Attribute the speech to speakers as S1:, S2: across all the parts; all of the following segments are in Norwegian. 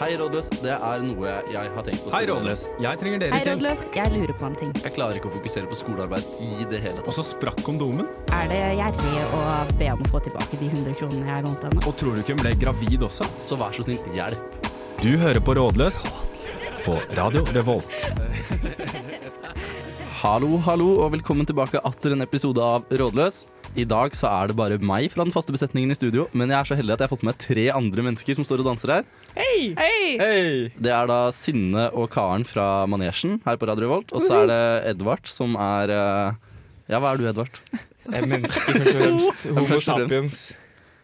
S1: Hei, rådløs. Det er noe jeg har tenkt på.
S2: Hei, Rådløs. Jeg trenger
S3: Hei,
S2: deres hjelp.
S3: rådløs. Jeg lurer på en ting.
S1: Jeg klarer ikke å fokusere på skolearbeid i det hele
S2: Og
S1: tatt.
S2: så sprakk kondomen.
S3: Er det gjerrig å be om å få tilbake de 100 kronene jeg lånte henne?
S2: Og tror du ikke hun ble gravid også?
S1: Så vær så snill, hjelp.
S2: Du hører på Rådløs på Radio Revolt.
S1: Hallo, hallo, og velkommen tilbake atter en episode av Rådløs. I dag så er det bare meg fra den faste besetningen i studio, men jeg er så heldig at jeg har fått med tre andre mennesker som står og danser her.
S4: Hei!
S1: Det er da Sinne og Karen fra Manesjen her på Radio Revolt, og så er det Edvard som er eh, Ja, hva er du, Edvard?
S5: Eh, Mennesker, først og fremst. Homo
S1: Først og fremst.
S5: sapiens.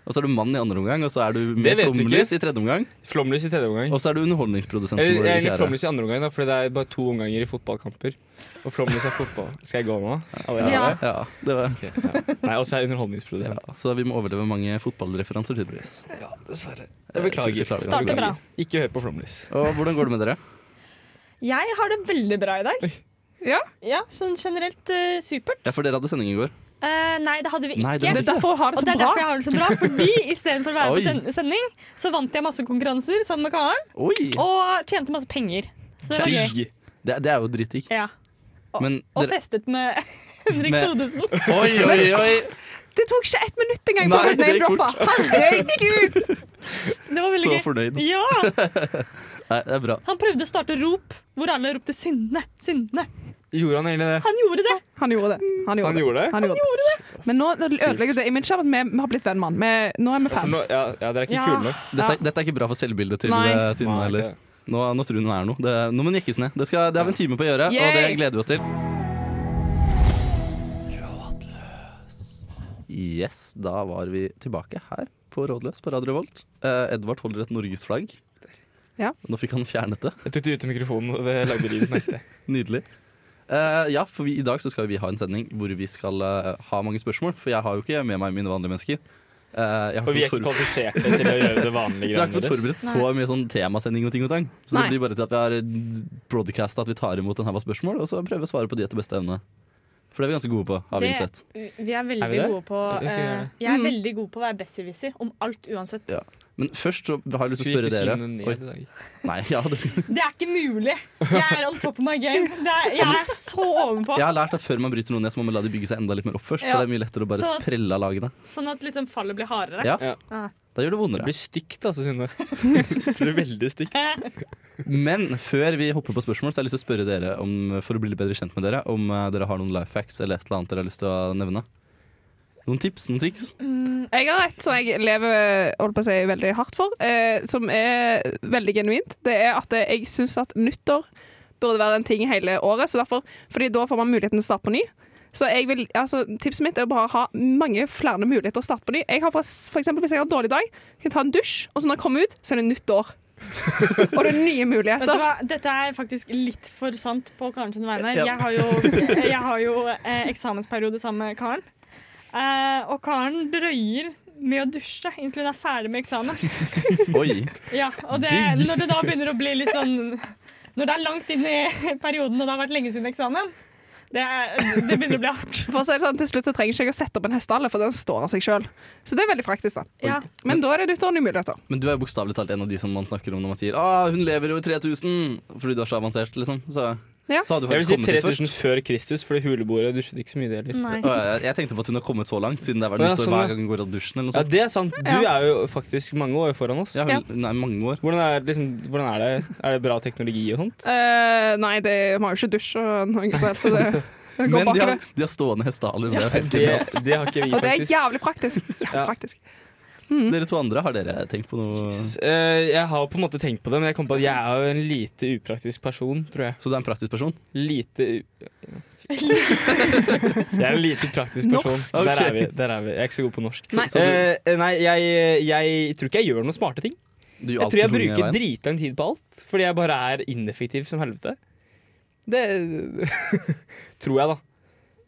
S1: Og så er du mann i andre omgang, og så er du
S5: Det
S1: med
S5: vet du ikke.
S1: Flomlys i tredje omgang,
S5: Flomlys i tredje omgang.
S1: og så er du underholdningsprodusenten
S5: Eller
S1: vår i
S5: egentlig
S1: fjerde.
S5: flomlys i andre omgang, da, fordi det er bare to omganger i fotballkamper. Og flomlys er fotball. Skal jeg gå nå? Allerede?
S4: Ja.
S1: Ja, det var,
S5: Ok, ja. Nei, og så er jeg underholdningsprodusent.
S1: ja, så vi må overleve mange fotballreferanser, tydeligvis.
S5: Ja, dessverre.
S1: Jeg
S5: Jeg
S1: beklager.
S5: beklager.
S4: Starter bra.
S5: Ikke hør på flomlys.
S1: Og hvordan går det med dere?
S4: Jeg har det veldig bra i dag.
S6: Ja?
S4: Ja, Sånn generelt eh, supert.
S1: Ja, for dere hadde sending i går.
S4: Eh, nei, det hadde vi ikke.
S1: Nei, det
S6: Det er
S1: hadde vi ikke.
S6: derfor hun har
S4: og
S6: det
S4: det
S6: så
S4: er
S6: bra.
S4: derfor jeg har det så bra. Fordi istedenfor å være
S1: Oi.
S4: på ten- sending, så vant jeg masse konkurranser sammen med Karen.
S1: Oi!
S4: Og tjente masse penger. Så det var gøy.
S5: Digg.
S1: Det, det er jo dritdigg.
S4: Ja. Og,
S1: Men
S4: og
S1: dere-
S4: festet med Henrik
S1: Med-
S4: Thodesen.
S1: Oi, oi, oi!
S6: Det tok ikke ett minutt engang
S1: Nei,
S6: før hun
S1: det gikk
S6: name-droppa. Herregud!
S4: Det var veldig
S1: Så
S4: gøy.
S1: fornøyd.
S4: Ja,
S1: Nei, det er bra.
S4: Han prøvde å starte rop hvor alle ropte 'Synne, Synne'.
S5: Gjorde han egentlig det?
S4: Han gjorde det.
S6: Han gjorde det. Han
S5: Han
S6: gjorde det.
S5: gjorde det?
S6: Han gjorde det. Men nå ødelegger det imaget av at vi, vi har blitt vennmann. Vi, nå er vi
S5: For Nå,
S6: fans.
S5: ja, ja, dere er ikke
S6: Ja.
S5: kule nok.
S1: Dette,
S6: Ja.
S1: er- dette er ikke bra for selvbildet til
S6: Nei.
S1: eh, Synne
S5: Nei,
S1: heller.
S5: det-
S1: Nå, nå tror hun hun er noe. Det, nå må hun jekkes ned. Det, skal, det har vi en time på å gjøre, og det
S6: Yay!
S1: gleder vi oss til. Yes, da var vi tilbake her på Rådløs på Radio Revolt. Eh, Edvard holder et norgesflagg.
S6: Ja.
S1: Nå fikk han fjernet det.
S5: Jeg tok det ut av mikrofonen, og det lagde lyd. merket jeg.
S1: Nydelig. Eh, ja, for vi, I dag så skal vi ha en sending hvor vi skal eh, ha mange spørsmål. For jeg har jo ikke med meg mine vanlige mennesker. Eh, jeg har
S5: Og vi er
S1: ikke
S5: ikke
S1: fått forberedt,
S5: kvalifiserte til å gjøre det vanlige
S1: så jeg har ikke
S5: greiene
S1: fått forberedt så mye sånn temasending og ting og tang. Så det
S6: Nei.
S1: blir bare til at vi har broadcasta at vi tar imot en haug av spørsmål, og så prøver vi å svare på de etter beste evne. For det er vi ganske gode på, har vi
S4: Det-
S1: innsett.
S4: Vi er
S5: Er
S4: veldig
S5: vi det?
S4: gode på
S5: Det er ikke
S4: eh,
S5: gærent.
S4: Jeg er
S6: Mm.
S4: veldig god på å være besserwisser om alt uansett.
S1: Ja. Men først så har jeg lyst
S5: Skal
S1: til å
S5: vi
S1: spørre
S5: ikke
S1: dere
S5: synge ned
S1: Oi,
S5: i dag?
S1: Nei, ja, det skal...
S4: Det er ikke mulig! Jeg er on top of my game. Det er, jeg er så ovenpå.
S1: Jeg har lært at før man bryter noen ned, så må man la de bygge seg enda litt mer opp først.
S4: Ja.
S1: For det er mye lettere å bare
S4: Så-
S1: prelle av lagene.
S4: Sånn at liksom fallet blir hardere.
S1: Ja.
S4: Ja.
S1: Da gjør det
S5: Det
S1: vondere.
S5: blir stygt, altså, Synne. Det blir veldig stygt.
S4: Eh,
S1: Men før vi hopper på spørsmål, så har jeg lyst til å spørre dere om, for å bli litt bedre kjent med dere, om eh, dere har noen life hacks eller et eller annet dere har lyst til å nevne. Noen tips, noen triks?
S6: Jeg har et som jeg lever holdt på å si, veldig hardt for, eh, som er veldig genuint. Det er at jeg syns at nyttår burde være en ting hele året, så derfor, fordi da får man muligheten til å starte på ny. Så jeg vil, altså, Tipset mitt er å bare ha mange flere muligheter å starte på ny. Jeg har for, for eksempel, Hvis jeg har en dårlig dag, kan jeg ta en dusj, og så når jeg kommer ut, så er det nytt år. Og det er
S4: Vet
S6: nye
S4: du
S6: muligheter.
S4: hva, Dette er faktisk litt for sant på Karen sine vegne.
S1: Ja.
S4: Jeg har jo, jeg har jo eh, eksamensperiode sammen med Karen. Eh, og Karen drøyer med å dusje inntil hun er ferdig med eksamen.
S1: Oi.
S4: Ja, og det,
S1: Digg.
S4: når det da begynner å bli litt sånn Når det er langt inn i perioden, og det har vært lenge siden eksamen, det, er, det begynner å bli hardt.
S6: For å si det sånn, Til slutt så trenger ikke jeg å sette opp en hestehale, for den står av seg sjøl. Så det er veldig praktisk, da.
S4: Ja.
S6: Men da er det nyttår og nye muligheter.
S1: Men du er jo bokstavelig talt en av de som man snakker om når man sier ah, 'hun lever jo i 3000', fordi du er så avansert, liksom. Så,
S6: Ja.
S1: så hadde du
S5: Jeg vil
S1: faktisk
S5: si
S1: kommet dit først. Mm.
S5: 3000 før Kristus, fordi hulebordet dusjet ikke så mye det heller.
S4: Nei.
S1: Å, jeg- Jeg tenkte på at hun har kommet så langt, siden det er hvert
S5: Å, ja,
S1: nyttår
S5: sånn,
S1: hver
S5: ja.
S1: gang hun går av dusjen. Eller noe
S5: Ja,
S1: sånt.
S5: det er sant. Du er jo faktisk mange år foran oss.
S1: Ja, hun,
S6: Ja.
S1: Nei, mange år.
S5: Hvordan, er, liksom, hvordan er det? Er det bra teknologi og sånt?
S6: Eh, nei, det, vi har jo ikke dusj og noe sånt, så det,
S1: Men
S6: det går
S1: de
S6: bakover.
S1: har, de har stående hestehaler. det er helt
S5: Det,
S1: genialt.
S5: det har ikke vi,
S6: Og det er
S5: faktisk.
S6: jævlig praktisk. Jævlig
S5: Ja.
S6: praktisk.
S1: Dere to andre, har dere tenkt på noe
S5: Eh, Jeg har på en måte tenkt på det, men jeg kom på at jeg er jo en lite upraktisk person, tror jeg.
S1: Så du er en praktisk person?
S5: Lite u... Jeg er en lite praktisk person.
S6: Norsk.
S5: Der,
S1: Ok.
S5: er vi, der er vi. Jeg er ikke så god på norsk.
S6: Nei.
S1: Så du,
S5: Eh, nei, jeg, jeg tror ikke jeg gjør noen smarte ting.
S1: du gjør
S5: Jeg
S1: alt
S5: tror jeg
S1: den tunge
S5: bruker
S1: veien.
S5: dritlang tid på alt, fordi jeg bare er ineffektiv som helvete. Det tror jeg, da.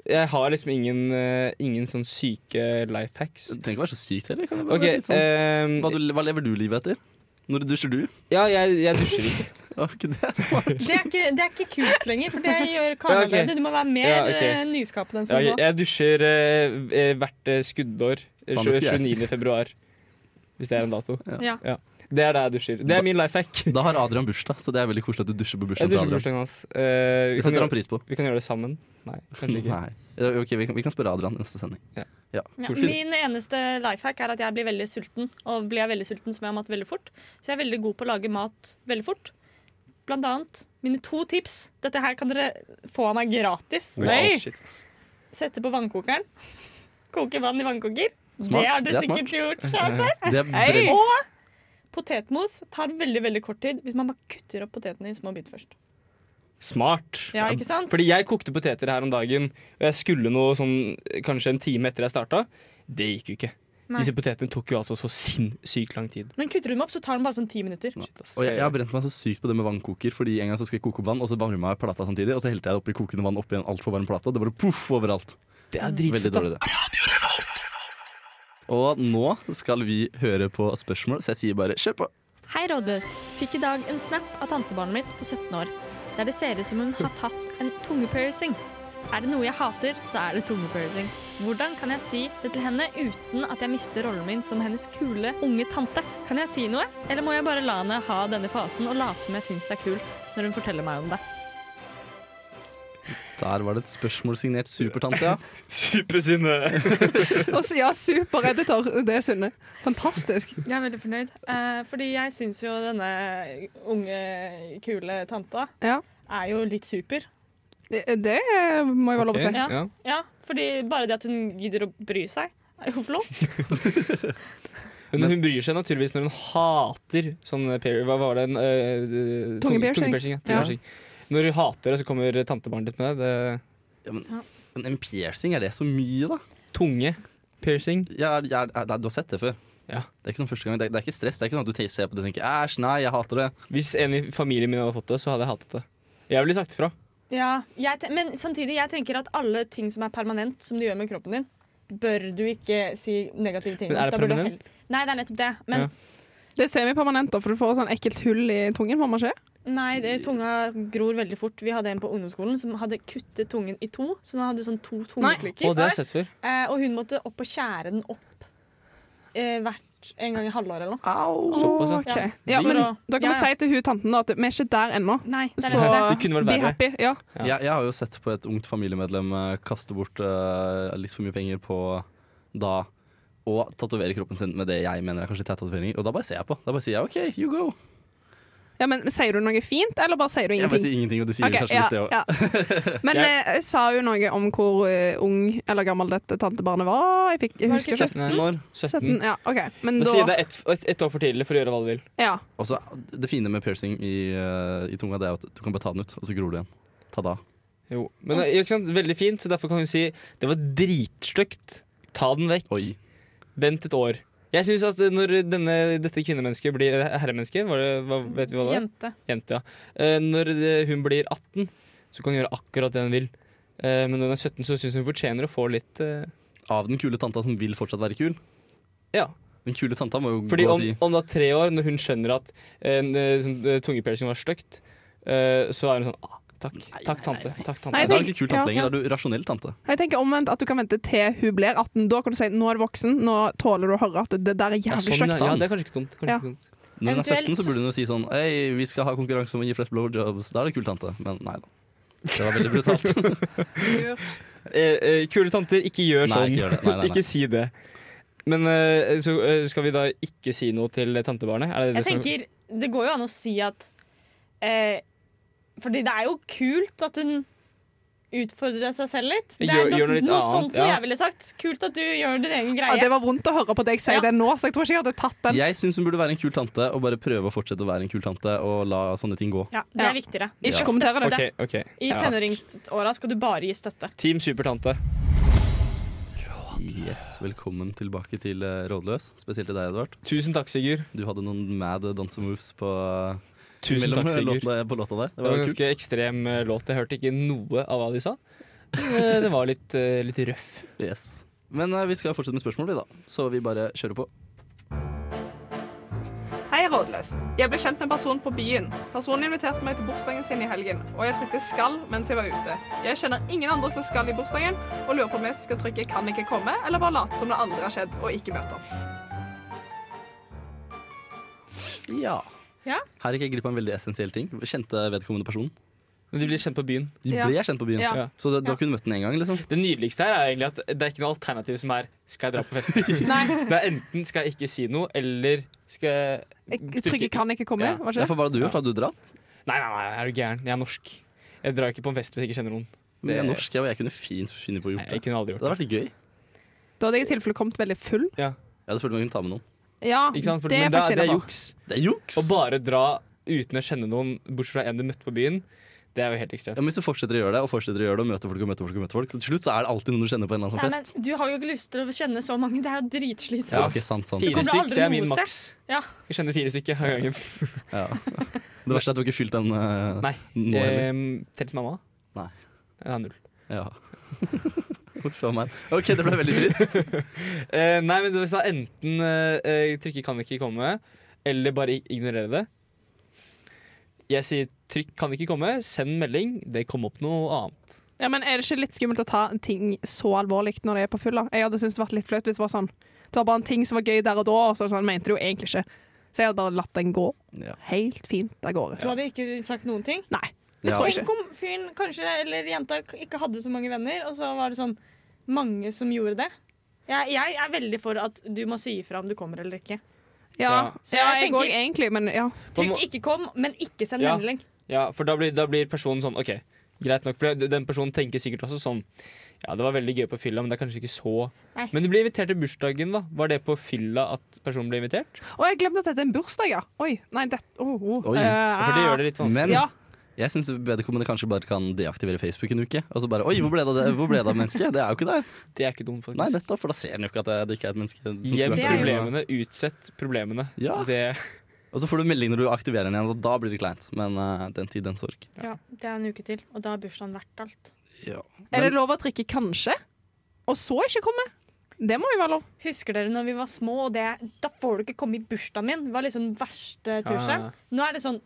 S5: Jeg har liksom ingen, eh, ingen sånn syke life hacks.
S1: Det trenger ikke være så sykt heller. Kan det bare
S5: Ok,
S1: være litt sånn.
S5: ehm,
S1: hva, du, hva lever du livet etter? Når dusjer du?
S5: ja, jeg, jeg dusjer ikke.
S1: Å, ikke det er smart.
S4: Det er, ikke, det er ikke kult lenger, for det gjør Karen
S5: Ja, ok.
S4: allerede. Du må være mer
S5: Ja, ok.
S4: eh, nyskapende enn som
S5: Jeg,
S4: så.
S5: jeg dusjer eh, eh, hvert eh, skuddår.
S1: Faen, det skulle jeg
S5: 29. februar. hvis det er en dato.
S4: Ja.
S5: Det er da jeg dusjer. Det er min life hack.
S1: Da har Adrian bursdag, så det er veldig koselig at du dusjer på
S5: Jeg
S1: bursdagen til
S5: dusjer på
S1: Adrian.
S5: bursdagen hans. Eh, vi,
S1: Det
S5: kan
S1: setter han
S5: gjøre,
S1: pris på.
S5: vi kan gjøre det sammen. Nei, kanskje ikke.
S1: Nei. Ja, Ok, vi kan, vi kan spørre Adrian i neste sending.
S5: Ja.
S4: Ja.
S5: Koselig.
S4: Min eneste life hack er at jeg blir veldig sulten. Og blir jeg veldig sulten, så må jeg ha mat veldig fort. Så jeg er veldig god på å lage mat veldig fort. Blant annet mine to tips. Dette her kan dere få av meg gratis.
S5: Wow, shit, ass.
S4: Sette på vannkokeren. Koke vann i vannkoker.
S1: Smart.
S4: Det har
S1: Det
S4: dere
S1: er smart.
S4: sikkert gjort selv før.
S1: Det er brev-
S4: Og potetmos tar veldig veldig kort tid hvis man bare kutter opp potetene i små biter først.
S5: Smart.
S4: Ja, ikke sant?
S5: Fordi jeg kokte poteter her om dagen, og jeg skulle noe sånn kanskje en time etter jeg starta. Det gikk jo ikke.
S4: Nei.
S5: Disse potetene tok jo altså så sinnssykt lang tid.
S4: Men kutter du dem opp, så tar den bare sånn ti minutter.
S5: Shit, ass.
S1: Og jeg, jeg har brent meg så sykt på det med vannkoker, Fordi en gang så skulle jeg koke opp vann, og så varma jeg plata samtidig. Og så helte jeg oppi kokende vann oppi en altfor varm plate, og det bare poff overalt.
S5: Det er
S1: Veldig
S5: dritfett, da.
S1: dårlig det. Og nå skal vi høre på spørsmål, så jeg sier bare kjør på.
S4: Hei, rådløs. Fikk i dag en snap av tantebarnet mitt på 17 år, der det ser ut som hun har tatt en tungepiercing. Er det noe jeg hater, så er det tungepiercing. Hvordan kan jeg si det til henne uten at jeg mister rollen min som hennes kule, unge tante? Kan jeg si noe, eller må jeg bare la henne ha denne fasen og late som jeg syns det er kult når hun forteller meg om det?
S1: Der var det et spørsmål signert Supertante. Ja.
S5: Supersunne.
S6: Og så- ja, supereditor. Det er Sunne. Fantastisk.
S4: Jeg er veldig fornøyd, eh, fordi jeg syns jo denne unge, kule tanta
S6: Ja.
S4: er jo litt super.
S6: Det, det må jeg være lov å si.
S4: Ja.
S5: Ja.
S4: Ja, fordi bare det at hun gidder å bry seg, er jo flott.
S5: Men hun bryr seg naturligvis når hun hater sånn per, Hva var det? en, eh, eh, tung-
S6: Tungepiercing.
S5: tungepiercing, ja, tungepiercing. Når hun hater det, så kommer tantebarnet ditt med det.
S1: Ja, men, men en piercing, er det så mye, da?
S5: det tunge piercing.
S1: Jeg, jeg, jeg, du har sett det før.
S5: Ja.
S1: Det er ikke sånn første gang, det er, det er ikke stress. Det er ikke sånn at du te- ser på det og tenker æsj, nei, jeg hater det.
S5: Hvis en i familien min hadde fått det, så hadde jeg hatet det. Jeg ville sagt ifra.
S4: Ja, jeg te- Men samtidig, jeg tenker at alle ting som er permanent, som du gjør med kroppen din, bør du ikke si negative ting.
S5: Men er det
S4: Da burde du
S5: permanent?
S4: helst- Nei, det er nettopp det. Men
S5: Ja.
S6: Det er semipermanent, da, for du får sånn ekkelt hull i tungen. Får man ikke?
S4: nei, det, tunga gror veldig fort. Vi hadde en på ungdomsskolen som hadde kuttet tungen i to. Så han hadde sånn to
S5: Å,
S4: tungeklikker.
S5: det har jeg sett før.
S4: Eh, og hun måtte opp og skjære den opp eh, hvert en gang i halvåret eller noe.
S5: Såpass, ja.
S6: Ok. ja. Men
S4: Ja.
S6: da kan
S4: Ja,
S6: vi
S4: ja.
S6: si til hun tanten da, at vi er ikke der ennå.
S4: Nei, det er
S6: Så
S4: nettopp det.
S5: Det kunne vært
S6: be
S5: verre.
S6: happy. Ja.
S5: Ja.
S1: Jeg, jeg har jo sett på et ungt familiemedlem eh, kaste bort eh, litt for mye penger på da å tatovere kroppen sin med det jeg mener er kanskje teit tatoveringer. Og da bare ser jeg på. Da bare sier jeg OK, you go.
S6: ja, men Sier du noe fint, eller bare sier du
S1: Jeg bare
S6: ingenting?
S1: sier ingenting, og det sier
S6: Ok,
S1: kanskje
S6: ja,
S1: litt, det òg.
S6: ja. Men
S5: Jeg-
S6: eh, sa hun noe om hvor eh, ung eller gammel dette tantebarnet var? Jeg, fikk, jeg
S4: Var det
S6: husker
S4: ikke
S6: ikke.
S5: 17 år.
S6: 17,
S5: 17.
S6: ja, ok. Men
S5: Da
S6: da,
S5: sier jeg det er ett et, år for tidlig for å gjøre hva du vil.
S6: ja.
S1: Og så Det fine med piercing i, eh, i tunga det er jo at du kan bare ta den ut, og så gror det igjen. Ta da.
S5: Jo. Men det er ikke sant, Veldig fint, så derfor kan hun si det var dritstygt. Ta den vekk.
S1: Oi.
S5: Vent et år. Jeg synes at når denne, dette kvinnemennesket blir herremenneske, var det, hva, vet vi hva det var?
S4: Jente.
S5: Jente, ja. Eh, Når det- hun blir 18, så kan hun gjøre akkurat det hun vil. Eh, Men når hun er 17, så syns hun fortjener å få litt eh,
S1: Av den kule tanta som vil fortsatt være kul.
S5: Ja.
S1: Den kule tanta må jo
S5: Fordi
S1: gå
S5: om,
S1: og si
S5: om da tre år, når hun skjønner at en eh, sånn, eh, tungepiercing var stygt, eh, så er hun sånn ah, Takk, takk, tante. Takk, tante.
S6: Nei,
S1: Da er du ikke kul tante
S6: Ja,
S1: lenger, da er du rasjonell tante.
S6: Jeg tenker omvendt at du kan vente til hun blir 18. Da kan du si nå er du voksen, nå tåler du å høre at det der er
S5: ja,
S6: jævlig
S5: sånn,
S6: stygt.
S5: ja, ja, det er kanskje ikke dumt. Kanskje
S6: Ja.
S5: ikke dumt.
S1: Når hun er 17,
S4: Eventuelt
S1: så
S4: så-
S1: burde hun jo si sånn Hei, vi skal ha konkurranse om å gi flest blowjobs. Da er det kul tante. Men nei da. Det var veldig brutalt.
S5: Eh, eh, kule tanter, ikke gjør
S1: Nei,
S5: sånn.
S1: ikke gjør det. Nei, nei, nei.
S5: Ikke si det. Men eh, så eh, skal vi da ikke si noe til tantebarnet? Er det det
S4: Jeg tenker, det går jo an å si at eh, Fordi det er jo kult at hun utfordrer seg selv litt. Det er
S5: Gjør- gjør noe litt annet,
S4: noe sånt
S5: ja.
S4: jeg ville sagt. Kult at du gjør din egen
S6: Ja,
S4: greie.
S6: det var vondt å høre på deg si
S4: Ja.
S6: det nå, så jeg tror ikke jeg hadde tatt den.
S1: Jeg syns hun burde være en kul tante og bare prøve å fortsette å være en kul tante og la sånne ting gå.
S4: ja, det
S6: Ja.
S4: er viktigere.
S6: Ikke
S4: Du skal
S6: kommentere det.
S5: Ok,
S4: støtte.
S5: ok.
S4: I
S5: Ja.
S4: tenåringsåra skal du bare gi støtte.
S5: Team Supertante.
S1: Yes, Velkommen tilbake til eh, Rådløs. Spesielt til deg, Edvard.
S5: Tusen takk, Sigurd.
S1: Du hadde noen mad dansemoves på, eh,
S5: Tusen
S1: mellom
S5: takk, Sigurd.
S1: låtene, på låta der.
S5: Det
S1: Det var
S5: var en
S1: jo kult.
S5: ganske ekstrem eh, låt. Jeg hørte ikke noe av hva de sa. Men, eh, Den var litt, eh, litt røff.
S1: Yes. Men eh, vi skal fortsette med spørsmål, vi da. Så vi bare kjører på.
S6: Hei, rådløs. Jeg ble kjent med en person på byen. Personen inviterte meg til bursdagen sin i helgen, og jeg trykte 'skal' mens jeg var ute. Jeg kjenner ingen andre som skal i bursdagen, og lurer på om jeg skal trykke 'kan ikke komme', eller bare late som det aldri har skjedd, og ikke møte opp.
S1: Ja.
S7: Ja.
S1: Her gikk jeg glipp av en veldig essensiell ting. Kjente vedkommende person.
S5: Men de blir kjent på byen.
S1: De
S6: Ja.
S1: ble kjent på byen.
S6: Ja.
S5: Ja.
S1: Så det, du har kun møtt den én gang, liksom?
S5: Det nydeligste her er egentlig at det er ikke noe alternativ som er 'skal jeg dra på fest'?
S6: Nei,
S5: Det er enten 'skal jeg ikke si noe', eller 'skal jeg
S6: jeg Trygge kan ikke komme.
S5: Ja.
S6: Var
S1: Ja,
S6: ikke
S1: for hva
S6: det?
S1: hadde du gjort?
S5: Ja.
S1: Hadde du dratt?
S5: Nei, nei, nei, er du gæren? Jeg er norsk. Jeg drar ikke på en fest hvis jeg ikke kjenner noen.
S1: Men jeg er
S5: Det-
S1: norsk, jeg, og jeg kunne fint finne på å
S5: Nei,
S1: gjort
S5: jeg
S1: det.
S5: kunne aldri
S1: Det
S5: gjort
S1: hadde vært litt gøy.
S6: Da hadde jeg i tilfelle kommet veldig full.
S1: Jeg hadde spurt om jeg kunne ta med noen.
S6: Ja,
S5: Ikke sant? For,
S6: det
S5: men
S6: er
S5: da-
S6: faktisk
S5: det er
S6: innafor.
S5: juks.
S1: Det er juks!
S5: Å bare dra uten å kjenne noen, bortsett fra en du møtte på byen, det er jo helt ekstremt.
S1: Ja, men hvis du fortsetter å gjøre det, og fortsetter å gjøre det, og møter folk og møter folk, og møter folk så til slutt så er det alltid noen du kjenner på en eller
S4: Nei,
S1: annen sånn fest.
S4: men du har jo ikke lyst til å kjenne så mange. Det er jo
S1: Ja,
S4: dritslitsomt.
S1: ok, sant, sant.
S5: Fire
S4: kommer
S5: stykk,
S4: aldri
S5: det er min
S4: noe sted.
S5: maks.
S4: Ja.
S5: Jeg kjenner fire stykker av gangen.
S1: Ja. Det verste er at du ikke har fylt den eh,
S5: Nei.
S1: nå heller.
S5: Ehm, Telt mamma?
S1: Nei.
S5: Jeg har null.
S1: Ja. Uff a meg. OK, det ble veldig trist.
S5: Eh, nei, men du sa enten eh, eh, trykket kan ikke komme, eller bare ignorere det. Jeg sier trykk kan ikke komme, send melding, det kom opp noe annet.
S6: Ja, men er det ikke litt skummelt å ta en ting så alvorlig når det er på fulla? Jeg hadde syntes det vært litt flaut hvis det var sånn. Det var bare en ting som var gøy der og da, og så sånn, mente du jo egentlig ikke. Så jeg hadde bare latt den gå
S1: Ja.
S6: helt fint av
S4: Du
S6: gårde.
S4: hadde ikke sagt noen ting.
S6: Nei.
S1: Ja.
S6: tror jeg
S4: Tenk om fyren kanskje, eller jenta k- ikke hadde så mange venner, og så var det sånn mange som gjorde det. Jeg, jeg er veldig for at du må si ifra om du kommer eller ikke.
S6: Ja,
S5: Ja.
S6: Så jeg
S4: jeg
S6: òg
S4: tenker-
S6: egentlig, men ja.
S5: Man må-
S4: Trykk 'ikke kom', men ikke send
S5: Ja.
S4: melding.
S5: Ja, for da blir, da blir personen sånn OK, greit nok. For det- den personen tenker sikkert også sånn Ja, det var veldig gøy på fylla, men det er kanskje ikke så
S4: Nei.
S5: Men du blir invitert til bursdagen, da. Var det på fylla at personen ble invitert?
S6: Å, jeg glemte at dette er en bursdag, ja. Oi, nei, det oh, oh.
S1: Oi,
S6: Eh,
S5: Ja,
S1: Ah.
S5: For det gjør det litt vanskelig.
S1: Men
S6: Ja.
S1: jeg syns vedkommende kanskje bare kan deaktivere Facebook en uke. Og så bare Oi, hvor ble det av det, hvor ble det av mennesket? Det er jo ikke der.
S5: Det er ikke dumt, faktisk.
S1: Nei, nettopp, for da ser den jo ikke at det, det ikke er et menneske. som skulle
S5: Gjem
S1: vært der.
S5: problemene, utsett problemene.
S1: Ja.
S5: Det,
S1: Og så får du melding når du aktiverer den igjen, og da blir det kleint. Men eh, den tid, den sorg.
S4: Ja, Det er en uke til, og da er bursdagen verdt alt.
S1: Ja.
S6: Er det lov å drikke kanskje, og så ikke komme? Det må jo være lov.
S4: Husker dere når vi var små, og det 'da får du ikke komme i bursdagen min' var liksom den verste trusselen.
S5: Ja.
S4: Nå er det sånn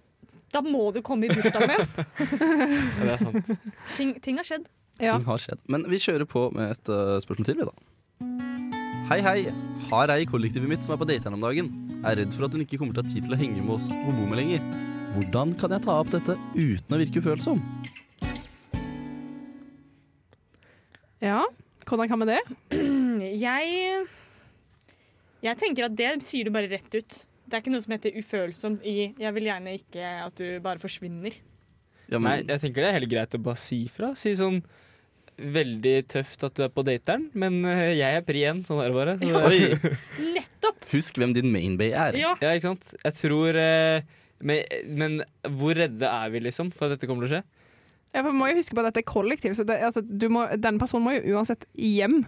S4: 'da må du komme i bursdagen min'.
S5: ja, det er sant.
S4: ting, ting har skjedd.
S6: Ja.
S1: Ting har skjedd. Men vi kjører på med et eh, spørsmål til, vi, da. Hei, hei. Har ei i kollektivet mitt som er på date her om dagen. Er redd for at hun ikke kommer til å ha tid til å henge med oss på bommet lenger. Hvordan kan jeg ta opp dette uten å virke ufølsom?
S6: Ja, hvordan kan vi det?
S4: Jeg Jeg tenker at det sier du bare rett ut. Det er ikke noe som heter ufølsomt i 'jeg vil gjerne ikke at du bare forsvinner'.
S1: Ja,
S5: Nei,
S1: men,
S5: jeg tenker det er helt greit å bare si fra. Si sånn Veldig tøft at du er på dateren, men eh, jeg er pri en, sånn er det bare. Så det,
S1: Oi!
S4: Nettopp!
S1: Husk hvem din mainbay er.
S4: Ja.
S5: Ja, ikke sant? Jeg tror eh, men, men hvor redde er vi, liksom, for at dette kommer til å skje?
S6: Ja, for Vi må jo huske på at dette er kollektiv, så det, altså, du må, denne personen må jo uansett hjem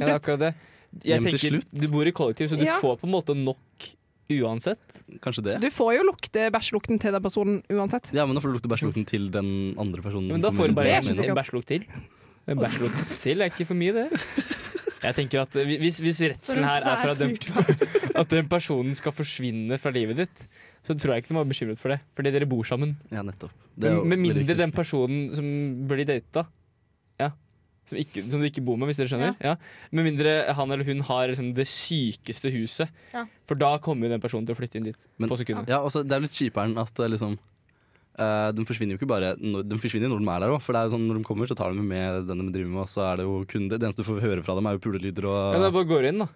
S5: Ja, det er
S6: slutt.
S5: akkurat det. Jeg
S1: Hjem til
S5: tenker,
S1: slutt.
S5: Du bor i kollektiv, så du
S6: Ja.
S5: får på en måte nok uansett.
S1: Kanskje det?
S6: Du får jo lukte bæsjelukten til den personen uansett.
S1: Ja, men da får du lukte bæsjelukten til den andre personen.
S5: Men da
S1: som
S5: får du
S1: kommer
S5: bare
S1: inn.
S6: Det er ikke
S5: en, en bæsjelukt til. En bæsjelukt til er ikke for mye, det. Jeg tenker at eh, hvis, hvis redselen her er for at den, at den personen skal forsvinne fra livet ditt, så tror jeg ikke du må være bekymret for det, fordi dere bor sammen.
S1: Ja, nettopp. Det er jo
S5: Med
S1: veldig
S5: mindre
S1: viktig.
S5: den personen som blir data ja. som, ikke, som du ikke bor med, hvis dere skjønner. Ja. Med mindre han eller hun har liksom det sykeste huset.
S4: Ja.
S5: For da kommer jo den personen til å flytte inn dit
S1: Men-
S5: på sekundet.
S1: Ja, også, det er jo litt kjipere enn at eh, liksom eh, de forsvinner jo ikke bare når, De forsvinner når de er der òg. For det er jo sånn, når de kommer, så tar de med den de driver med, og så er det jo kun det. Det eneste du får høre fra dem, er jo pulelyder og
S5: Ja, da bare går du inn, da.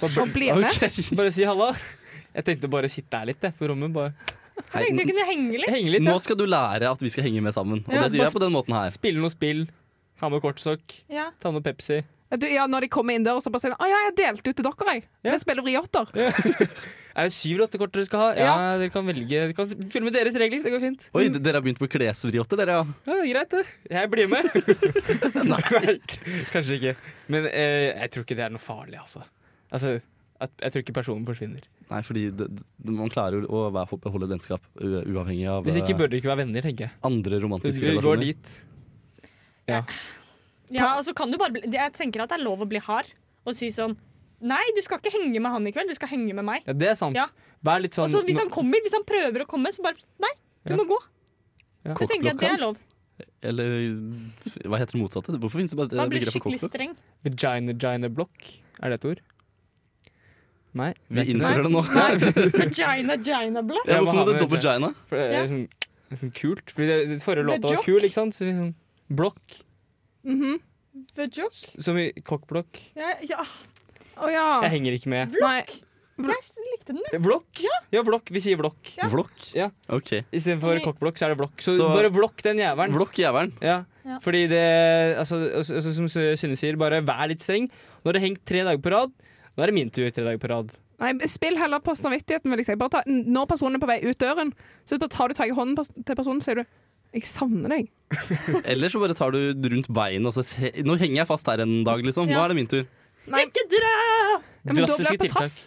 S5: Bare,
S6: Og bli med.
S5: bl- bare si halla. Jeg tenkte bare sitte her litt jeg, på rommet. Bare
S1: Hei,
S4: Tenkte du kunne henge litt?
S5: henge litt.
S1: Nå
S5: Ja.
S1: skal du lære at vi skal henge med sammen. Og
S5: Ja,
S1: det sier
S5: bare Mm.
S1: jeg på den måten her.
S5: Spille noe spill. Ha med kortstokk.
S4: Ja.
S5: Ta med Pepsi.
S6: Du, ja, når de kommer inn der, og så bare sier de, Å ja, jeg delte ut til dere, jeg.
S5: Ja.
S6: Vi spiller vriotter.
S5: Er det syv eller åtte kort dere skal ha? Ja, Dere kan velge. Dere kan spille med deres regler. Det går fint.
S1: Oi, d- dere har begynt på klesvriotter, dere, ja.
S5: Ja, det er Greit, det. Jeg blir med. Nei. Kanskje ikke. Men eh, jeg tror ikke det er noe farlig, altså. altså at, jeg tror ikke personen forsvinner.
S1: Nei, fordi det, det, man klarer jo å være, holde et vennskap u- uavhengig av
S5: Hvis ikke
S1: eh,
S5: bør dere ikke være venner, tenker jeg.
S1: andre
S5: Hvis
S1: romantiske
S5: vi går
S1: relasjoner.
S5: dit Ja.
S4: Ja, og så kan du bare bli, Jeg tenker at det er lov å bli hard og si sånn Nei, du skal ikke henge med han i kveld, du skal henge med meg.
S5: ja, det er sant.
S4: Ja.
S5: Vær litt sånn
S4: Og så hvis han kommer, hvis han prøver å komme, så bare Nei, du
S5: Ja.
S4: må gå.
S5: Ja.
S4: Jeg tenker at det er lov.
S1: Eller hva heter det motsatte? Hvorfor finnes det bare
S4: Man
S1: et
S4: blir
S1: begrep for
S4: skikkelig
S1: cockblock?
S4: streng.
S5: Vagina-gina-blokk. Er det et ord? Nei.
S1: Vi
S5: det er ikke det.
S1: innfører det nå.
S4: Vagina, gina blad.
S1: Ja,
S5: Jeg må
S1: hvorfor
S5: ha
S1: må det
S5: med
S1: dobbelt
S5: vagina.
S1: gina?
S5: For det
S4: Ja.
S5: er sånn, det er sånn kult. Fordi det, det forrige
S4: Det er
S5: låta var
S4: jock.
S5: kul, ikke sant? Så vi sånn, blokk.
S6: Mhm.
S4: Vajok.
S5: Som i kokkblokk.
S4: Ja, ja.
S6: Å ja.
S4: Ah.
S5: Jeg henger ikke med.
S6: Nei.
S4: Jeg likte den. jeg.
S5: Blokk? Ja, blokk. Vi sier blokk.
S4: Ja.
S1: Vlokk?
S5: Ja.
S1: Ok.
S5: Istedenfor
S4: Så vi-
S5: kokkblokk, så er det blokk. Så,
S1: Så-
S5: bare blokk den jævelen.
S1: Vlokk jævelen.
S5: Ja.
S4: Ja.
S5: Fordi det altså, altså, altså, Som Synne sier, bare vær litt streng. Nå har det hengt tre dager på rad. Nå er det min tur tre dager på rad.
S6: Nei, spill heller på snarvittigheten, vil jeg si. Bare ta, når personen er på vei ut døren, så bare tar du tak i hånden på- til personen og sier du 'Jeg savner deg'.
S1: Eller så bare tar du den rundt beinet og så se, Nå henger jeg fast her en dag, liksom. Nå
S4: Ja.
S1: er det min tur.
S4: Ikke dra!
S6: Ja, men da blir det på trass.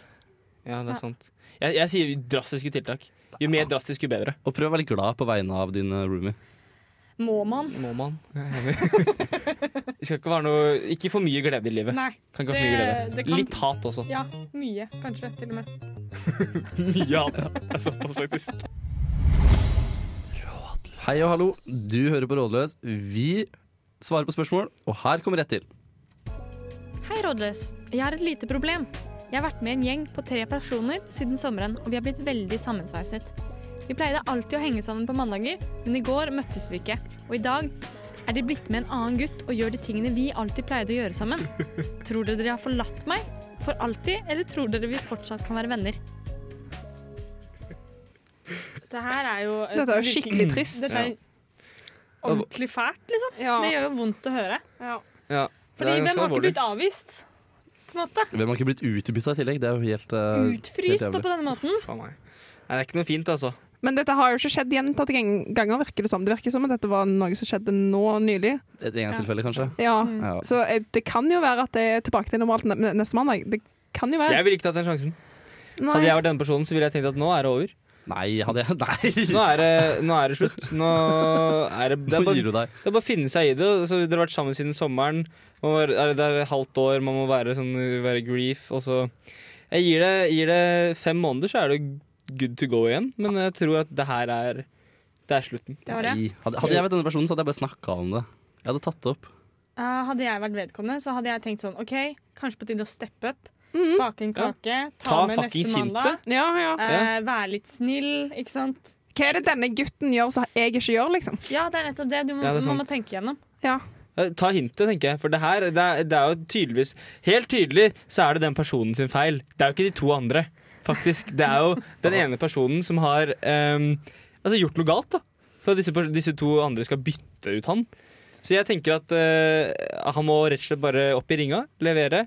S5: Ja, det er sant. Jeg, jeg sier drastiske tiltak. Jo
S1: Ah.
S5: mer drastisk, jo bedre.
S1: Og prøv å være litt glad på vegne av din eh, roomie.
S4: Må man?
S5: Må man. Det skal ikke være noe Ikke for mye glede i livet.
S4: Nei.
S5: Kan ikke ha
S4: Det-
S5: for mye glede.
S4: det kan-
S5: Litt hat også.
S4: Ja, mye. Kanskje, til og med.
S5: Ja, det er såpass, faktisk.
S1: Hei og hallo, du hører på Rådløs. Vi svarer på spørsmål, og her kommer ett til.
S7: Hei, Rådløs. Jeg har et lite problem. Jeg har vært med i en gjeng på tre personer siden sommeren, og vi har blitt veldig sammensveiset. Vi pleide alltid å henge sammen på mandager, men i går møttes vi ikke. Og i dag er de blitt med en annen gutt og gjør de tingene vi alltid pleide å gjøre sammen. Tror dere de har forlatt meg for alltid, eller tror dere vi fortsatt kan være venner?
S4: Det her er jo eh,
S6: Dette er jo skikkelig trist.
S4: Dette er ordentlig fælt, liksom. Det gjør jo vondt å høre. Fordi hvem har ikke blitt avvist? På en måte.
S1: Hvem har ikke blitt utbytta i tillegg? Det er jo helt eh,
S4: Utfryst
S1: helt
S4: og
S1: jævlig.
S4: på denne måten.
S5: Nei, det er ikke noe fint, altså.
S6: Men dette har jo ikke skjedd gjentatte gang- ganger, virker det som. Det virker som at dette var noe som skjedde nå nylig.
S1: Et engangstilfelle, kanskje.
S6: Ja.
S4: Mm.
S1: Ja.
S6: Så eh, det kan jo være at det er tilbake til normalt ne- neste mandag. Det kan jo være.
S5: Jeg ville ikke tatt den sjansen. Hadde
S6: Nei.
S5: jeg vært den personen, så ville jeg tenkt at nå er det over.
S1: Nei, hadde jeg Nei!
S5: Nå er det, nå er det slutt. Nå er det,
S1: Nå
S5: det, er bare,
S1: gir du deg.
S5: det er bare å finne seg i det. Så dere har vært sammen siden sommeren. Man var, er det er et halvt år, man må være, sånn, være grief. Og så jeg gir, det, gir det fem måneder, så er det good to go igjen. Men jeg tror at det her er, det er slutten.
S4: Det var det.
S1: Nei. Hadde, hadde jeg vært denne personen, så hadde jeg bare snakka om det. Jeg hadde tatt det opp.
S4: Eh, hadde jeg vært vedkommende, så hadde jeg tenkt sånn OK, kanskje på tide å steppe up.
S6: Mhm.
S4: Bake en kake. Ta,
S5: Ta
S4: med neste
S5: fuckings
S4: mandag.
S5: hintet.
S6: Ja, ja.
S4: Eh, være litt snill, ikke sant.
S6: Hva er det denne gutten gjør som jeg ikke gjør, liksom?
S4: Ja, det er nettopp det. Du må,
S5: Ja, det er
S4: man må
S5: sant.
S4: tenke gjennom.
S6: Ja.
S5: Ja, Eh, Ta hintet, tenker jeg. For det her, det er, det er jo tydeligvis Helt tydelig så er det den personen sin feil. Det er jo ikke de to andre, faktisk. Det er jo den ene personen som har ehm, altså gjort noe galt, da. For at disse, pers- disse to andre skal bytte ut han. Så jeg tenker at eh, han må rett og slett bare opp i ringa, levere.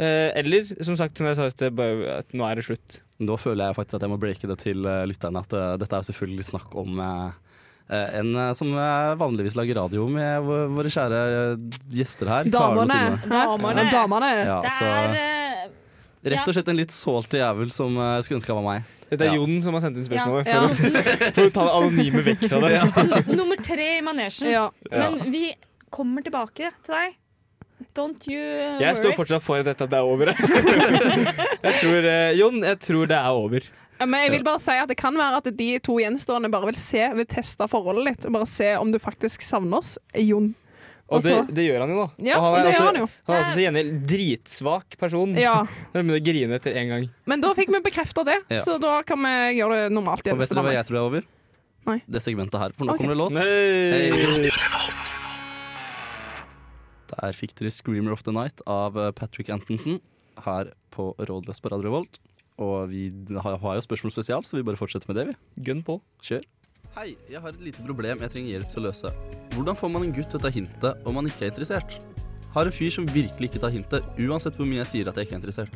S5: Eh, eller, som sagt, som jeg sa i sted, bare at nå er det slutt.
S1: Nå føler jeg faktisk at jeg må breake det til eh, lytterne at eh, dette er jo selvfølgelig snakk om eh, eh, en eh, som eh, vanligvis lager radio med vå- våre kjære eh, gjester her. Karen og
S6: Damene.
S1: Synne.
S6: Hæ?
S4: Damene.
S6: Ja, Damene.
S1: Ja,
S4: Det
S1: så
S4: er eh,
S1: rett og slett en litt salty jævel som eh, skulle ønske han var meg.
S5: Dette er
S1: Ja.
S5: Jon som har sendt inn spørsmålet.
S6: Ja.
S5: For, å, for å ta det anonyme vekk fra det.
S4: n- nummer tre i manesjen.
S6: Ja.
S4: Men vi kommer tilbake til deg. Don't you
S5: Jeg står
S4: worry.
S5: fortsatt for at dette er over. jeg tror, eh, Jon, jeg tror det er over.
S6: Ja, Men jeg vil bare si at det kan være at de to gjenstående bare vil se, vil teste forholdet litt. Og bare se om du faktisk savner oss, Jon.
S5: Og det,
S6: Altså-
S5: det gjør han jo, da.
S6: Ja,
S5: og han er
S6: det
S5: også,
S6: gjør han jo.
S5: Han er også til gjengjeld dritsvak person.
S6: Ja.
S5: Når han begynner å grine etter én gang.
S6: Men da fikk vi bekrefta det,
S1: Ja.
S6: så da kan vi gjøre det normalt
S1: Og
S6: igjen.
S1: vet dere hva jeg tror er over?
S6: Nei.
S1: Det segmentet her. For nå
S6: Ok.
S1: kommer det låt.
S5: Nei.
S1: Der fikk dere 'Screamer of the Night' av eh, Patrick Antonsen her på Rådløs på Radio Revolt. Og vi har, har jo spørsmål spesial, så vi bare fortsetter med det, vi.
S5: Gunn på.
S1: Kjør. Hei, jeg har et lite problem jeg trenger hjelp til å løse. Hvordan får man en gutt til å ta hintet om han ikke er interessert? Har en fyr som virkelig ikke tar hintet, uansett hvor mye jeg sier at jeg ikke er interessert.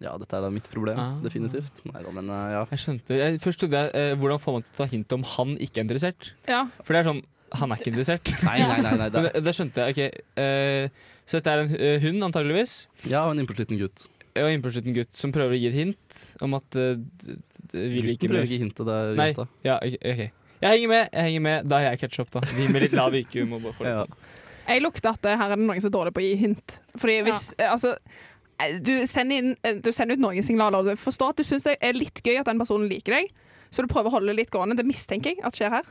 S1: Ja, dette er da mitt problem,
S5: Ah.
S1: definitivt. Nei da, men eh, ja.
S5: Jeg skjønte jeg, Først trodde jeg eh, hvordan får man til å ta hint om han ikke er interessert.
S6: Ja.
S5: For det er sånn han er ikke interessert.
S1: Nei, nei, nei. nei
S5: Men
S1: det er,
S5: det, det skjønte jeg. ok eh, Så dette er en eh, hund, antageligvis.
S1: ja, og en innpåsliten gutt.
S5: Og innpåslutt en gutt som prøver å gi et hint om at eh, d- d- vil
S1: Gutten
S5: ikke
S1: prøver
S5: bli
S1: ikke hintet, det er
S5: Nei.
S1: jenta.
S5: Ja, ok. ok. Jeg henger med, jeg henger med. Da er jeg catch up, da. De med litt lav IQ må bare få litt
S1: Ja.
S5: sånn.
S6: Jeg lukter at eh, her er det noen som er dårlig på å gi hint. Fordi hvis eh, Altså. eh, Du sender, inn, eh, du sender ut noen signaler, og du forstår at du syns det er litt gøy at den personen liker deg, så du prøver å holde det litt gående. Det mistenker jeg at skjer her.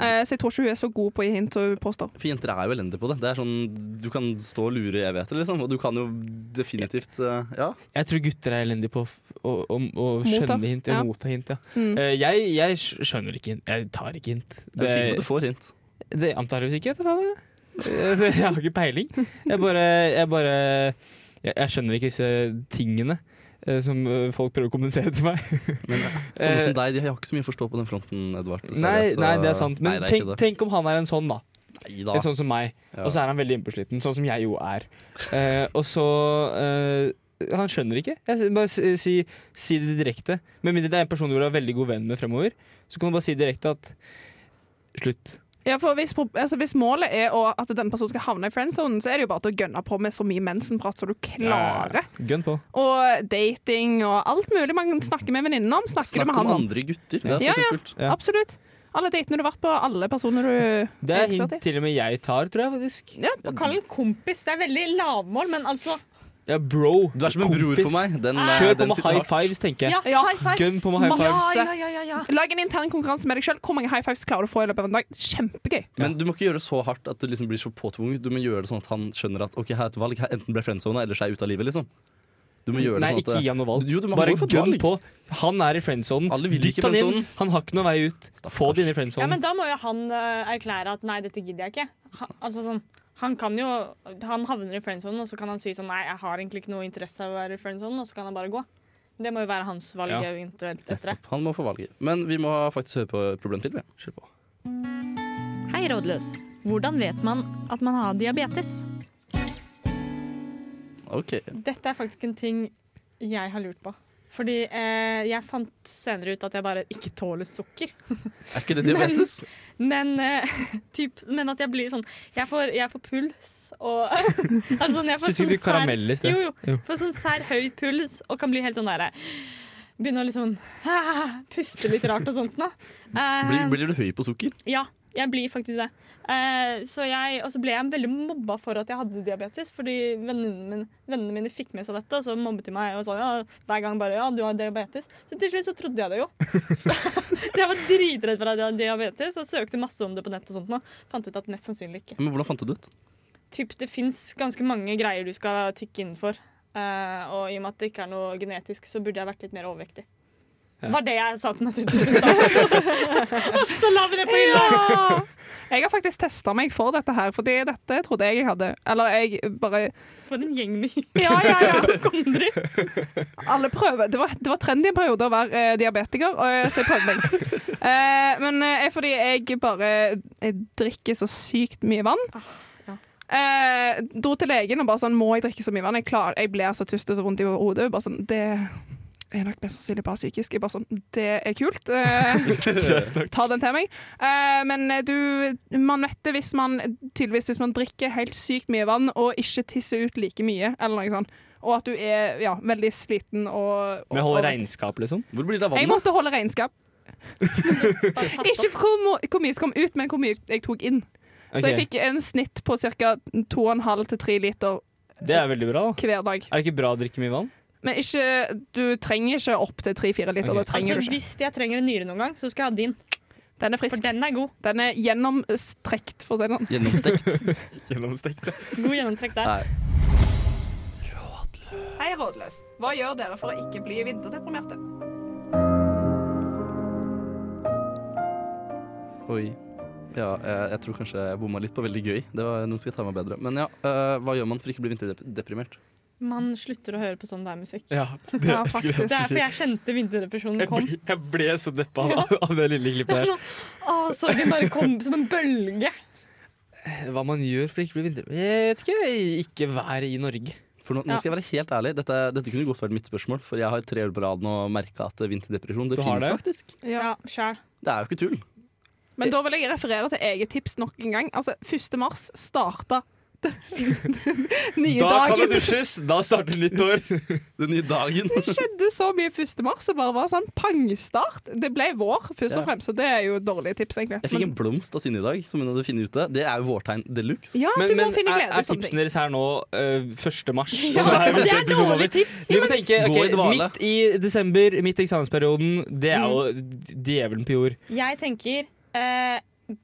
S6: Eh, Så jeg tror ikke hun er så god på å gi hint som hun påstår.
S1: For jenter er jo elendige på det. Det er sånn, Du kan stå og lure 'jeg vet det', liksom. Og du kan jo definitivt eh, Ja.
S5: Jeg tror gutter er elendige på å, f- å, å, å skjønne
S6: Motta.
S5: hint. Ja.
S6: Ja.
S5: Motta hint ja.
S6: Mm.
S5: Eh, jeg, jeg skj- skjønner ikke hint. Jeg tar ikke hint.
S1: Jeg er sikker på at du får hint.
S5: Det antageligvis ikke, vet du hva det er. Altså, Jeg har ikke peiling. Jeg bare Jeg, bare, jeg, jeg skjønner ikke disse tingene eh, som eh, folk prøver å kommunisere til meg.
S1: Men sånne som deg, de har ikke så mye å forstå på den fronten, Edvard. dessverre,
S5: eh, Nei,
S1: så-
S5: nei, det er sant. Men
S1: altså. nei, det er
S5: tenk,
S1: ikke det.
S5: tenk om han er en sånn, da.
S1: Nei da.
S5: En sånn som meg.
S1: Ja.
S5: Og så er han veldig innpåsliten, sånn som jeg jo er. Eh, og så eh, Han skjønner ikke. Jeg, sier- bare si, si, si det direkte. Med mindre det er en person du vil ha veldig god venn med fremover, så kan du bare si direkte at Slutt.
S6: Ja, for hvis, pro- altså, hvis målet er å, at den personen skal havne i friendzonen, så er det jo bare til å gønne på med så mye mensenprat som du klarer.
S5: Gønn på.
S6: Og dating og alt mulig man snakker med venninnen om, snakker du
S1: Snakk
S6: med
S1: om
S6: han om.
S1: andre gutter. Det er
S6: Ja,
S1: så
S6: ja.
S1: kult.
S5: Ja.
S6: Absolutt. Alle datene du har vært på, alle personer du
S5: Det
S6: er
S5: er
S6: interessert
S5: hint
S6: i.
S5: til og med jeg tar, tror jeg faktisk.
S4: Å kalle den kompis, det er veldig lavmål, men altså
S5: Ja, bro.
S1: Du er som en bror
S5: Kompis.
S1: for meg. Den, eh,
S5: Kjør på
S1: den
S5: med
S1: sitter
S5: high
S1: hardt.
S5: fives, tenker jeg.
S4: Ja, high five!
S5: Gønn på med high fives.
S4: Ja, ja, ja, ja,
S5: Sånn.
S4: ja.
S6: Lag en intern konkurranse med deg sjøl. Hvor mange high fives klarer du å få i løpet av en dag? Kjempegøy.
S1: Men du må ikke gjøre det så hardt at det liksom blir så påtvunget. Du må gjøre det sånn at han skjønner at ok, her er et valg. Her enten ble friendzona, eller så er jeg ute av livet, liksom. Du må gjøre det
S5: Nei,
S1: sånn at
S5: ikke gi ham noe valg.
S1: Jo, du må
S5: Bare
S1: han må få et
S5: gønn
S1: valg.
S5: på. Han er i friendzonen.
S1: Alle vil
S5: Dytt
S1: ikke
S5: han inn.
S1: friendzonen.
S5: Han har ikke noen vei ut. Få det inn i
S4: Ja, men
S5: friendzonen.
S4: da må jo han eh, erklære at nei, dette gidder jeg ikke. Han, altså sånn, han kan jo Han havner i friendzonen, og så kan han si sånn nei, jeg har egentlig ikke noe interesse av å være i friendzonen, og så kan han bare gå. Det må jo være hans valg
S5: Ja.
S4: eventuelt etter det.
S1: Han må få valget. Men vi må faktisk høre på et problem til. vi. Kjør på.
S7: Hei, rådløs. Hvordan vet man at man har diabetes?
S1: Ok.
S4: Dette er faktisk en ting jeg har lurt på. Fordi eh, jeg fant senere ut at jeg bare ikke tåler sukker.
S1: Er ikke det diabetes?
S4: Men, eh, typ, men at jeg blir sånn Jeg får, jeg får puls og altså, jeg får
S5: Spiste
S4: sånn
S5: ikke du
S4: sær-
S5: karamell i sted?
S4: Jo, jo.
S5: Jo.
S4: Får sånn sær høy puls og kan bli helt sånn derre Begynne å litt sånn Puste litt rart og sånt nå. Eh,
S1: Blir, blir du høy på sukker?
S4: Ja, jeg blir faktisk det. Eh, så jeg, og så ble jeg veldig mobba for at jeg hadde diabetes, fordi vennene mine, vennene mine fikk med seg dette, og så mobbet de meg og sa ja, hver gang bare ja, du har diabetes. Så til slutt så trodde jeg det jo. Så, så jeg var dritredd for at jeg hadde diabetes, og søkte masse om det på nett og sånt nå. Fant ut at mest sannsynlig ikke.
S1: Men Hvordan fant du det ut?
S4: Typ, det fins ganske mange greier du skal tikke innenfor. Eh, og i og med at det ikke er noe genetisk, så burde jeg vært litt mer overvektig.
S5: Ja.
S4: Var det jeg sa til meg selv til slutt. da, altså. Og så la vi det på hylla!
S6: Jeg har faktisk testa meg for dette her, fordi dette trodde jeg jeg hadde. Eller jeg bare
S4: For en gjeng med
S6: Ja, ja, ja.
S4: hypokondri.
S6: Alle prøver. Det var, det var trendy en periode å være eh, diabetiker, og, eh, så jeg prøvde meg. Eh, men eh, er fordi jeg bare jeg drikker så sykt mye vann.
S4: ja.
S6: Eh, dro til legen og bare sånn Må jeg drikke så mye vann? Jeg, klarer, jeg blir så tust og så vondt i hodet. Bare sånn, det er nok mest sannsynlig bare psykisk. Jeg bare sånn Det er kult. Eh, ta den til meg. Eh, men eh, du Man vet det hvis man tydeligvis hvis man drikker helt sykt mye vann og ikke tisser ut like mye, eller noe sånt. Og at du er ja, veldig sliten og, og
S5: Men holde
S6: og-
S5: regnskap, liksom.
S1: Hvor blir det av
S6: Jeg
S1: vannet?
S6: måtte holde regnskap. Ikke hvor, mo- hvor mye som kom ut, men hvor mye jeg tok inn. Så jeg
S5: Ok,
S6: fikk en snitt på ca. 2,5-3 liter
S5: Det er veldig bra. da
S6: hver dag.
S5: Er det ikke bra å drikke mye vann?
S6: Men ikke, du trenger ikke opp til 3-4 liter.
S5: Ok.
S6: Det trenger
S4: Altså,
S6: du ikke.
S4: hvis jeg trenger en nyre noen gang, så skal jeg ha din.
S6: Den er
S4: For
S6: frisk.
S4: den er god.
S6: Den er gjennomstrekt, for å si det sånn.
S1: Gjennomstekt.
S4: God gjennomtrekk der.
S1: Nei.
S6: Hei, rådløs. Hva gjør dere for å ikke bli vinterdeprimerte?
S1: Oi. Ja, eh, jeg, jeg tror kanskje jeg bomma litt på veldig gøy. Det var, nå skal jeg ta meg bedre. Men ja, eh, hva gjør man for ikke å bli vinterdeprimert?
S4: Man slutter å høre på sånn der musikk.
S5: Ja, det
S6: Ja, skulle
S4: Det
S6: jeg
S4: er derfor jeg kjente vinterdepresjonen kom. sånn,
S5: så deppa av, det lille klippet der.
S4: Å, sorgen bare kom som en bølge.
S5: Hva man gjør for å ikke bli vinter... Jeg vet ikke. Ikke være i Norge.
S1: For nå,
S4: Ja.
S1: nå skal jeg være helt ærlig, dette, dette kunne godt vært mitt spørsmål, for jeg har tre år på rad nå merka at vinterdepresjon det
S5: Du har
S1: finnes
S5: det?
S1: faktisk.
S4: Ja, sjæl.
S1: Det er jo ikke tull.
S6: Men da vil jeg referere til eget tips nok en gang. Altså, 1. mars starta den nye dagen.
S5: dusjes! Da starter nytt år.
S1: Den nye dagen.
S6: Det skjedde så mye 1. mars. Det bare var sånn pangstart. Det ble vår, først
S1: Ja.
S6: og fremst, så det er jo dårlige tips, egentlig.
S1: Jeg fikk en blomst av Synne i dag, som hun hadde funnet ute. Det er jo vårtegn de luxe.
S6: ja,
S5: Men,
S6: du må
S5: men
S6: finne
S5: er,
S6: glede
S5: er
S6: i sånne
S5: tipsene
S6: ting.
S5: deres her nå øh, 1. mars?
S4: Ja,
S5: Og så
S4: men det er
S5: episode over.
S4: dårlige tips.
S5: Du må tenke,
S1: Gå
S5: ok,
S1: i dvale.
S5: Midt i desember, midt i eksamensperioden, det er jo djevelen på jord.
S4: Jeg tenker eh,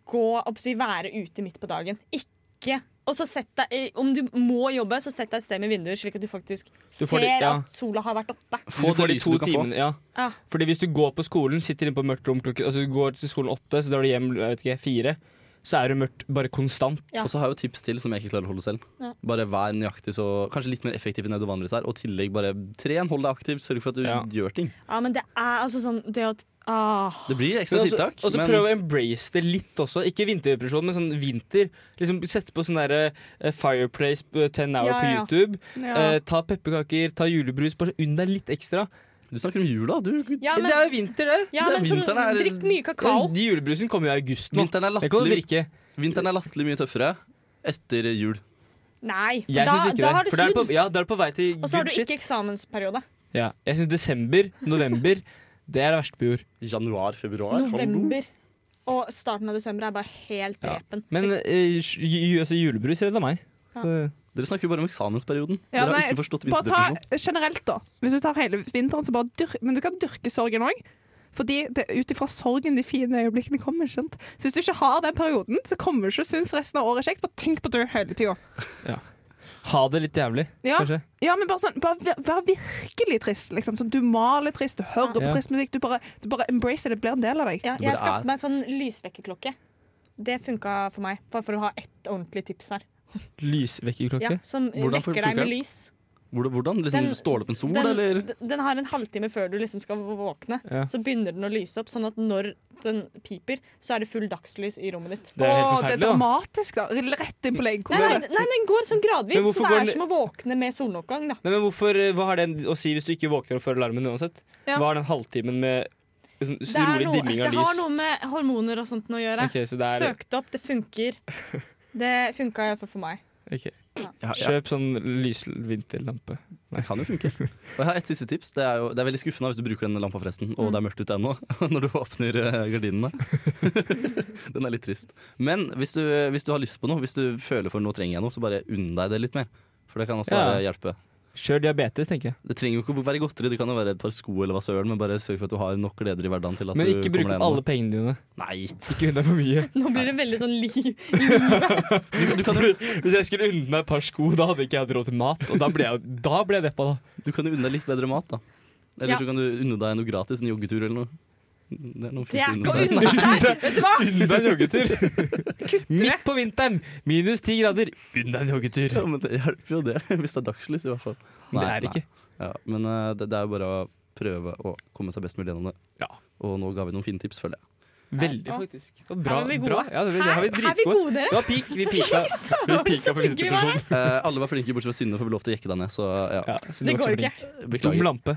S4: gå opp, si, være ute midt på dagen. Ikke og så sett deg, i- Om du må jobbe, så sett deg et sted med vinduer, slik at du faktisk
S5: Du får
S4: ser
S5: det, ja.
S4: at sola har vært oppe.
S5: Få
S1: Du får
S5: de
S1: lyset
S5: to
S1: du kan få.
S5: timene. Ja.
S4: Ja.
S5: Fordi hvis du går på skolen, sitter inne på mørkt rom klokken Altså du går til skolen åtte, så drar du hjem jeg vet ikke, fire, så er det mørkt bare konstant.
S4: Ja.
S1: Og så har jeg jo tips til som jeg ikke klarer å holde selv.
S4: Ja.
S1: Bare vær nøyaktig, så kanskje litt mer effektiv enn det du vanligvis er. Og i tillegg bare tren, hold deg aktiv, sørg for at du
S5: Ja.
S1: gjør ting.
S4: Ja, men det er altså sånn det at ah,
S1: Det blir
S5: Men
S1: ekstra
S5: også-
S1: tiltak,
S5: Og så
S1: men
S5: prøv å embrace det litt også. Ikke vinterdepresjon, men sånn vinter. Liksom Sette på sånn derre eh, Fireplace eh, 10 hour
S4: Ja,
S5: på
S4: ja, ja.
S5: YouTube.
S6: Ja.
S5: Eh, ta pepperkaker, ta julebrus. Bare unn deg litt ekstra.
S1: du snakker om jula. Du,
S4: Ja, men,
S5: det er jo vinter, det!
S4: ja,
S1: det er
S4: men sånn,
S1: vinteren er-
S4: drikk mye kakao.
S5: De julebrusen kommer jo i august nå.
S1: vinteren, er
S5: Jeg kan
S1: latterlig,
S5: drikke.
S1: vinteren er latterlig mye tøffere etter jul.
S4: Nei, for
S5: Jeg
S4: da,
S5: syns ikke
S4: da
S5: det.
S4: har du
S5: for da er det
S4: snudd.
S5: på, ja, da er det på vei til
S4: Og så har
S5: good
S4: du
S5: shit.
S4: ikke eksamensperiode.
S5: Ja. Jeg syns desember, november, det er det verste på jord.
S1: Januar, februar.
S4: November og starten av desember er bare helt
S5: Ja.
S4: drepen.
S5: Men eh, ju- ju- altså, julebrus redda meg.
S4: Ja.
S5: Så- eh,
S1: Dere snakker jo bare om eksamensperioden.
S6: Ja,
S1: Dere har
S6: nei,
S1: ikke forstått
S6: Bare ta
S1: vinterdepresjon.
S6: generelt, da. Hvis du tar hele vinteren, så bare dyrk Men du kan dyrke sorgen òg. Fordi det er ut ifra sorgen de fine øyeblikkene kommer. skjønt? Så hvis du ikke har den perioden, så kommer du ikke å synes resten av året er kjekt. Bare tenk på det hele tida.
S5: Ha det litt jævlig,
S6: Ja.
S5: kanskje.
S6: Ja, men bare sånn, bare vær- vær virkelig trist, liksom. Sånn, du maler trist, du hører
S5: Ja.
S6: på trist musikk. Du bare, du bare embracer det, det blir en del av deg.
S4: Ja,
S1: Det
S4: jeg
S1: bare er-
S4: skaffet meg en sånn lysvekkerklokke. Det funka for meg, bare for å ha ett ordentlig tips her.
S5: Lysvekkerklokke.
S4: Ja, som
S1: Hvordan
S4: vekker
S1: funker
S4: deg med
S1: den?
S4: lys.
S1: Hvordan? hvordan? Liksom,
S4: Den-
S1: Ståle opp en sol, eller?
S4: Den, den har en halvtime før du liksom skal våkne.
S5: Ja.
S4: Så begynner den å lyse opp, sånn at når den piper, så er det full dagslys i rommet ditt.
S5: Det er helt
S6: Åh, det er
S5: forferdelig, da.
S6: dramatisk, da. Rett inn på
S4: Nei, nei,
S6: legekontoret.
S4: nei, den går sånn gradvis,
S5: Men
S4: så
S5: hvorfor
S4: det
S5: går
S4: er
S5: den-
S4: som å våkne med soloppgang. da.
S5: Nei, men hvorfor, eh, hva har den å si hvis du ikke våkner opp før alarmen uansett?
S6: Ja.
S5: Hva er den halvtimen med liksom,
S4: Det, er
S5: rolig
S4: noe,
S5: dimming
S4: det
S5: av
S4: har
S5: lys?
S4: noe med hormoner og sånt å gjøre.
S5: Ok, så det er,
S4: Søkte opp, det funker. Det funka iallfall for meg.
S5: ok.
S1: Ja, ja,
S5: Kjøp sånn lysvinterlampe.
S1: det kan jo funke. Og jeg har et siste tips. Det er, jo, det er veldig skuffende hvis du bruker den lampa forresten, og det er mørkt ute ennå når du åpner eh, gardinene. den er litt trist. Men hvis du, hvis du har lyst på noe, hvis du føler for noe trenger jeg noe, så bare unn deg det litt mer. For det kan også
S5: Ja.
S1: eh, hjelpe.
S5: Kjør diabetes, tenker jeg.
S1: Det trenger jo ikke å være godteri, det kan jo være et par sko eller hva søren, men bare sørg for at du har nok gleder i hverdagen til at
S5: Men
S1: du
S5: ikke bruk
S1: kommer deg
S5: opp alle pengene dine.
S1: Nei.
S5: Ikke unna for mye.
S4: Nå blir det veldig sånn li...
S1: Du, du, kan, jo-
S5: Hvis jeg skulle unne meg et par sko, da hadde ikke jeg hatt råd til mat. Og da ble jeg, da ble jeg deppa, da.
S1: du kan jo unne deg litt bedre mat, da. Eller
S4: Ja.
S1: så kan du unne deg noe gratis, en joggetur eller noe. Det er noe
S4: Det
S1: fint å
S4: er
S1: unne
S4: ikke å
S1: seg.
S5: sånn-
S4: unne seg! Vet du hva?
S5: Unn deg en joggetur! Midt på vinteren, minus ti grader. Unn deg en joggetur.
S1: Ja, men det hjelper jo det, hvis det er dagslys i hvert fall.
S5: Men det er det
S1: nei.
S5: ikke.
S1: Ja, men eh, det, det er jo bare å prøve å komme seg best mulig gjennom det.
S5: Ja.
S1: Og nå ga vi noen fine tips, føler jeg.
S5: Veldig, faktisk. Det var bra.
S4: Her var vi gode.
S5: bra. Ja, det, det
S4: Her
S5: har vi
S4: er vi
S5: dritgode.
S4: gode, dere.
S5: Det var peak. Vi pika. Vi pika
S4: Så
S5: for
S4: flinke vi var.
S5: vinterdepresjon.
S1: Eh, alle var flinke bortsett fra Synne, for vi lovte å jekke deg ned, så ja.
S5: Ja, så du
S4: Det
S5: var
S4: går
S5: så
S4: ikke.
S5: flink. Dum
S1: Beklager.
S5: lampe.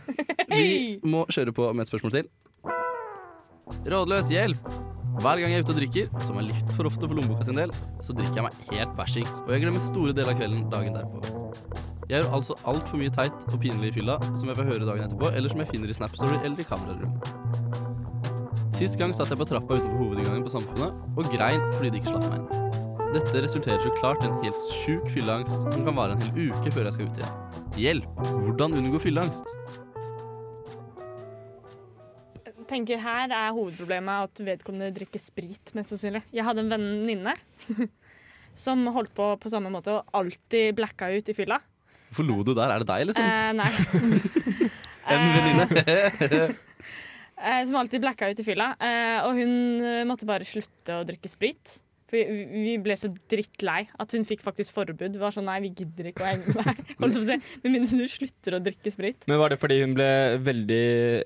S1: Vi må kjøre på med et spørsmål til. Rådløs hjelp! Hver gang jeg er ute og drikker, som er litt for ofte for lommeboka sin del, så drikker jeg meg helt bæsjings, og jeg glemmer store deler av kvelden dagen derpå. Jeg gjør altså altfor mye teit og pinlig i fylla, som jeg får høre dagen etterpå, eller som jeg finner i Snap-story eller i kamerarom. Sist gang satt jeg på trappa utenfor hovedinngangen på Samfunnet og grein fordi de ikke slapp meg inn. Dette resulterer så klart i en helt sjuk fylleangst som kan vare en hel uke før jeg skal ut igjen. Hjelp! Hvordan unngå fylleangst?
S4: tenker her er hovedproblemet at vedkommende drikker sprit, mest sannsynlig. Jeg hadde en venninne som holdt på på samme måte og alltid blacka ut i fylla.
S1: Hvorfor lo du der? Er det deg, liksom?
S4: Eh, nei.
S1: en venninne?
S4: Eh, som alltid blacka ut i fylla. Eh, og hun eh, måtte bare slutte å drikke sprit. For vi, vi ble så drittlei at hun fikk faktisk forbud. Det var sånn, nei, vi gidder ikke å henge med deg. Holdt jeg på å si. Med mindre du slutter å drikke sprit.
S5: Men Var det fordi hun ble veldig,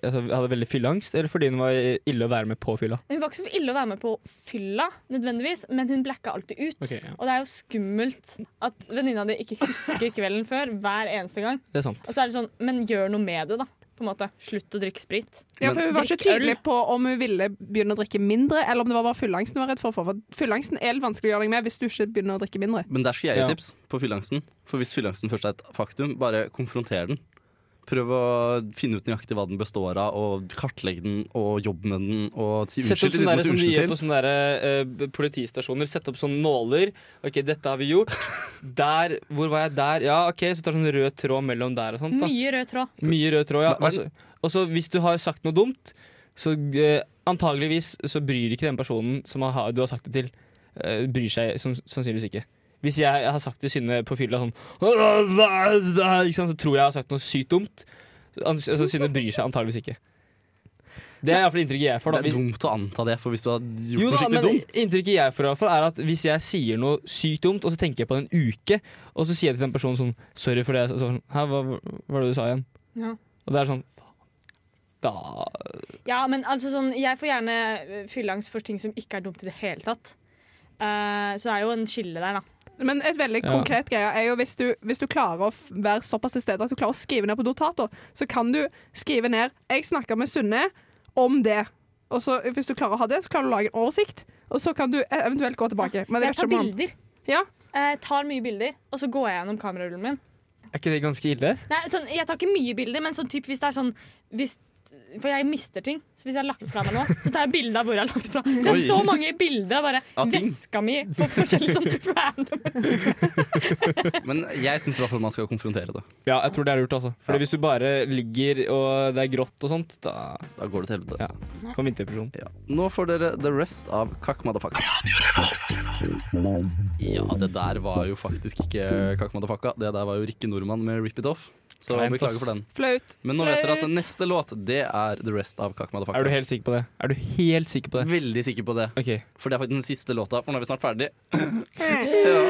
S5: altså, hadde veldig fylleangst, eller fordi hun var ille å være med på fylla?
S4: Hun var ikke så ille å være med på fylla, nødvendigvis, men hun blacka alltid ut.
S5: Ok, ja.
S4: Og det er jo skummelt at venninna di ikke husker kvelden før hver eneste gang.
S5: Det er sant.
S4: Og så er det sånn, men gjør noe med det, da. På en måte. Slutt å drikke sprit.
S6: Ja, for Hun var ikke
S4: Drikk øl.
S6: tydelig på om hun ville begynne å drikke mindre, eller om det var bare fylleangsten hun var redd for. for fylleangsten er litt vanskelig å gjøre deg med hvis du ikke begynner å drikke mindre.
S1: Men der skal jeg gi
S5: Ja.
S1: tips på fylleangsten. For hvis fylleangsten først er et faktum, bare konfronter den. Prøv å finne ut nøyaktig hva den består av, og kartlegge den, og jobbe med den, og si
S5: Sett opp
S1: unnskyld til
S5: sånne
S1: den
S5: der,
S1: du sier
S5: som de gjør
S1: unnskyld
S5: på
S1: til.
S5: sånne der, eh, politistasjoner. Sett opp sånne nåler. Ok, dette har vi gjort. Der, Hvor var jeg der? Ja, ok, så tar sånn rød tråd mellom der og sånt. da
S4: Mye rød tråd.
S5: Mye rød tråd, ja.
S1: Hva- hva er
S5: Altså- Og så hvis du har sagt noe dumt, så eh, antageligvis så bryr ikke den personen som har- du har sagt det til, eh, bryr seg sann- sannsynligvis ikke. Hvis jeg har sagt til Synne på fylla sånn ikke sant, Så tror jeg jeg har sagt noe sykt dumt. An- Altså, Synne bryr seg antageligvis ikke. Det er iallfall inntrykket jeg får. Da.
S1: Det er
S5: Hvis-
S1: dumt å anta det, for hvis du har gjort
S5: jo
S1: noe
S5: da, men
S1: skikkelig dumt
S5: Inntrykket jeg får, i hvert fall er at hvis jeg sier noe sykt dumt, og så tenker jeg på det en uke, og så sier jeg til den personen sånn Sorry for det. jeg sa», Sånn, Hæ, hva hva var det du sa igjen?
S4: Ja.
S5: Og det er sånn faen, Da
S4: Ja, men altså sånn, jeg får gjerne eh, fylleangst for ting som ikke er dumt i det hele tatt. Eh, så det er jo en skille der, da.
S6: Men et veldig
S5: Ja.
S6: konkret greie er jo hvis du, hvis du klarer å f- være såpass til stede at du klarer å skrive ned på notater, så kan du skrive ned 'Jeg snakker med Sunne om det'. Og så Hvis du klarer å ha det, så klarer du å lage en oversikt, og så kan du e- eventuelt gå tilbake.
S4: Jeg
S6: Men jeg vet
S4: tar
S6: ikke om han-
S4: bilder.
S6: Ja.
S4: Eh, tar mye bilder, og så går jeg gjennom kamerarullen min.
S5: Er ikke det ganske ille?
S4: Nei, sånn, jeg tar ikke mye bilder, men sånn typ hvis det er sånn hvis, For jeg mister ting. Så hvis jeg har lagt fra meg noe, så tar jeg bilde av hvor jeg har lagt fra. Så jeg har
S1: Oi.
S4: så mange bilder av bare
S1: Av ting?
S4: veska mi på forskjellig sånn random.
S1: Men jeg syns i hvert fall man skal konfrontere det.
S5: Ja, jeg tror det er lurt, altså. For
S1: Ja.
S5: hvis du bare ligger og det er grått og sånt, da
S1: Da går det til helvete.
S5: Ja. kan vinterdepresjon.
S1: Ja. Nå får dere The Rest av Kakk Madafakka. Ja, det der var jo faktisk ikke Kakk Madafakka. Det der var jo Rikke Nordmann med Rip It Off. Så
S5: Kleint,
S1: beklager
S5: ass.
S1: for den.
S6: Flaut.
S1: Men nå vet dere at den neste låt, det er The Rest av Kakk Madafakka.
S5: Er du helt sikker på det? Er du helt sikker på det?
S1: Veldig sikker på det.
S5: OK.
S1: For det er faktisk den siste låta, for nå er vi snart ferdig. ja.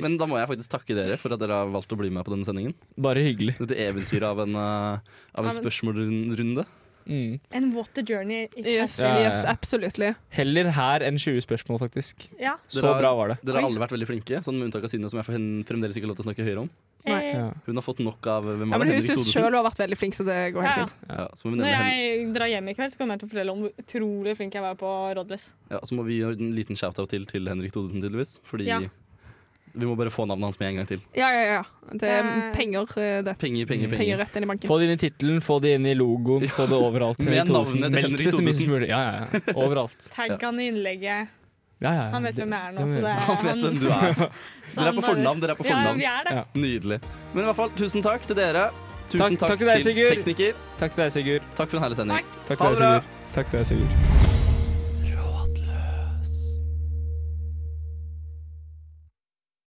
S1: Men da må jeg faktisk takke dere for at dere har valgt å bli med på denne sendingen.
S5: Bare hyggelig.
S1: Dette eventyret av en, eh, av en
S4: Av en-
S1: spørsmålrunde.
S5: Mm.
S4: And what a journey it
S6: Yes,
S5: Ja, ja, ja.
S6: yes absolutely.
S5: Heller her enn 20 spørsmål, faktisk.
S4: has. Ja.
S5: Så
S1: Dere har-
S5: bra var det.
S1: Dere har alle vært veldig flinke, sånn med unntak av Synne, som jeg får hen- fremdeles ikke har lov til å snakke høyere om.
S4: Eh,
S5: Ja.
S1: Hun har fått nok av hvem var
S6: Ja, men
S1: det?
S6: hun
S1: Henrik
S6: syns
S1: Thodesen?
S6: sjøl hun har vært veldig flink, så det går helt
S4: Ja, ja.
S6: fint.
S1: Ja, så må vi
S4: Når
S1: nevne henne.
S4: jeg drar hjem i kveld, så kommer jeg til å fortelle om hvor utrolig flink jeg var på Rodless.
S1: Ja, så må vi gjøre en liten shout-out til til Henrik Thodesen, tydeligvis. Fordi
S4: Ja.
S1: vi må bare få navnet hans med en gang til.
S6: Ja, ja, ja. Det er
S4: Det-
S6: penger, eh, det.
S1: Penger, penger,
S5: Mm.
S6: Penger
S1: penger.
S6: rett inn i banken.
S5: Få det inn i tittelen, få det inn i logoen, få det overalt.
S1: Med
S5: Henrik Thodesen.
S1: navnet til
S5: Melk
S1: Henrik
S5: det så mye
S1: Thodesen.
S5: som mulig. Ja, ja, ja. Overalt.
S4: Tagg han i innlegget.
S5: Ja, ja, ja.
S4: Han vet
S5: Det-
S4: hvem jeg er nå,
S5: det må
S4: så det
S5: vi gjøre.
S1: Han vet hvem du er.
S4: så
S1: Dere er
S4: han
S1: på
S4: bare-
S1: fornavn. dere er på
S4: Ja,
S1: fornavn.
S4: vi er det.
S5: Ja.
S1: Nydelig. Men i hvert fall, tusen takk til dere. Tusen
S5: Takk-
S1: takk,
S5: takk til deg,
S1: til
S5: Sigurd.
S1: tekniker.
S5: Takk til deg, Sigurd.
S1: Takk for en herlig sending.
S5: Takk
S1: Ha
S5: til deg,
S1: det bra.
S5: Sigurd. Takk til deg, Sigurd.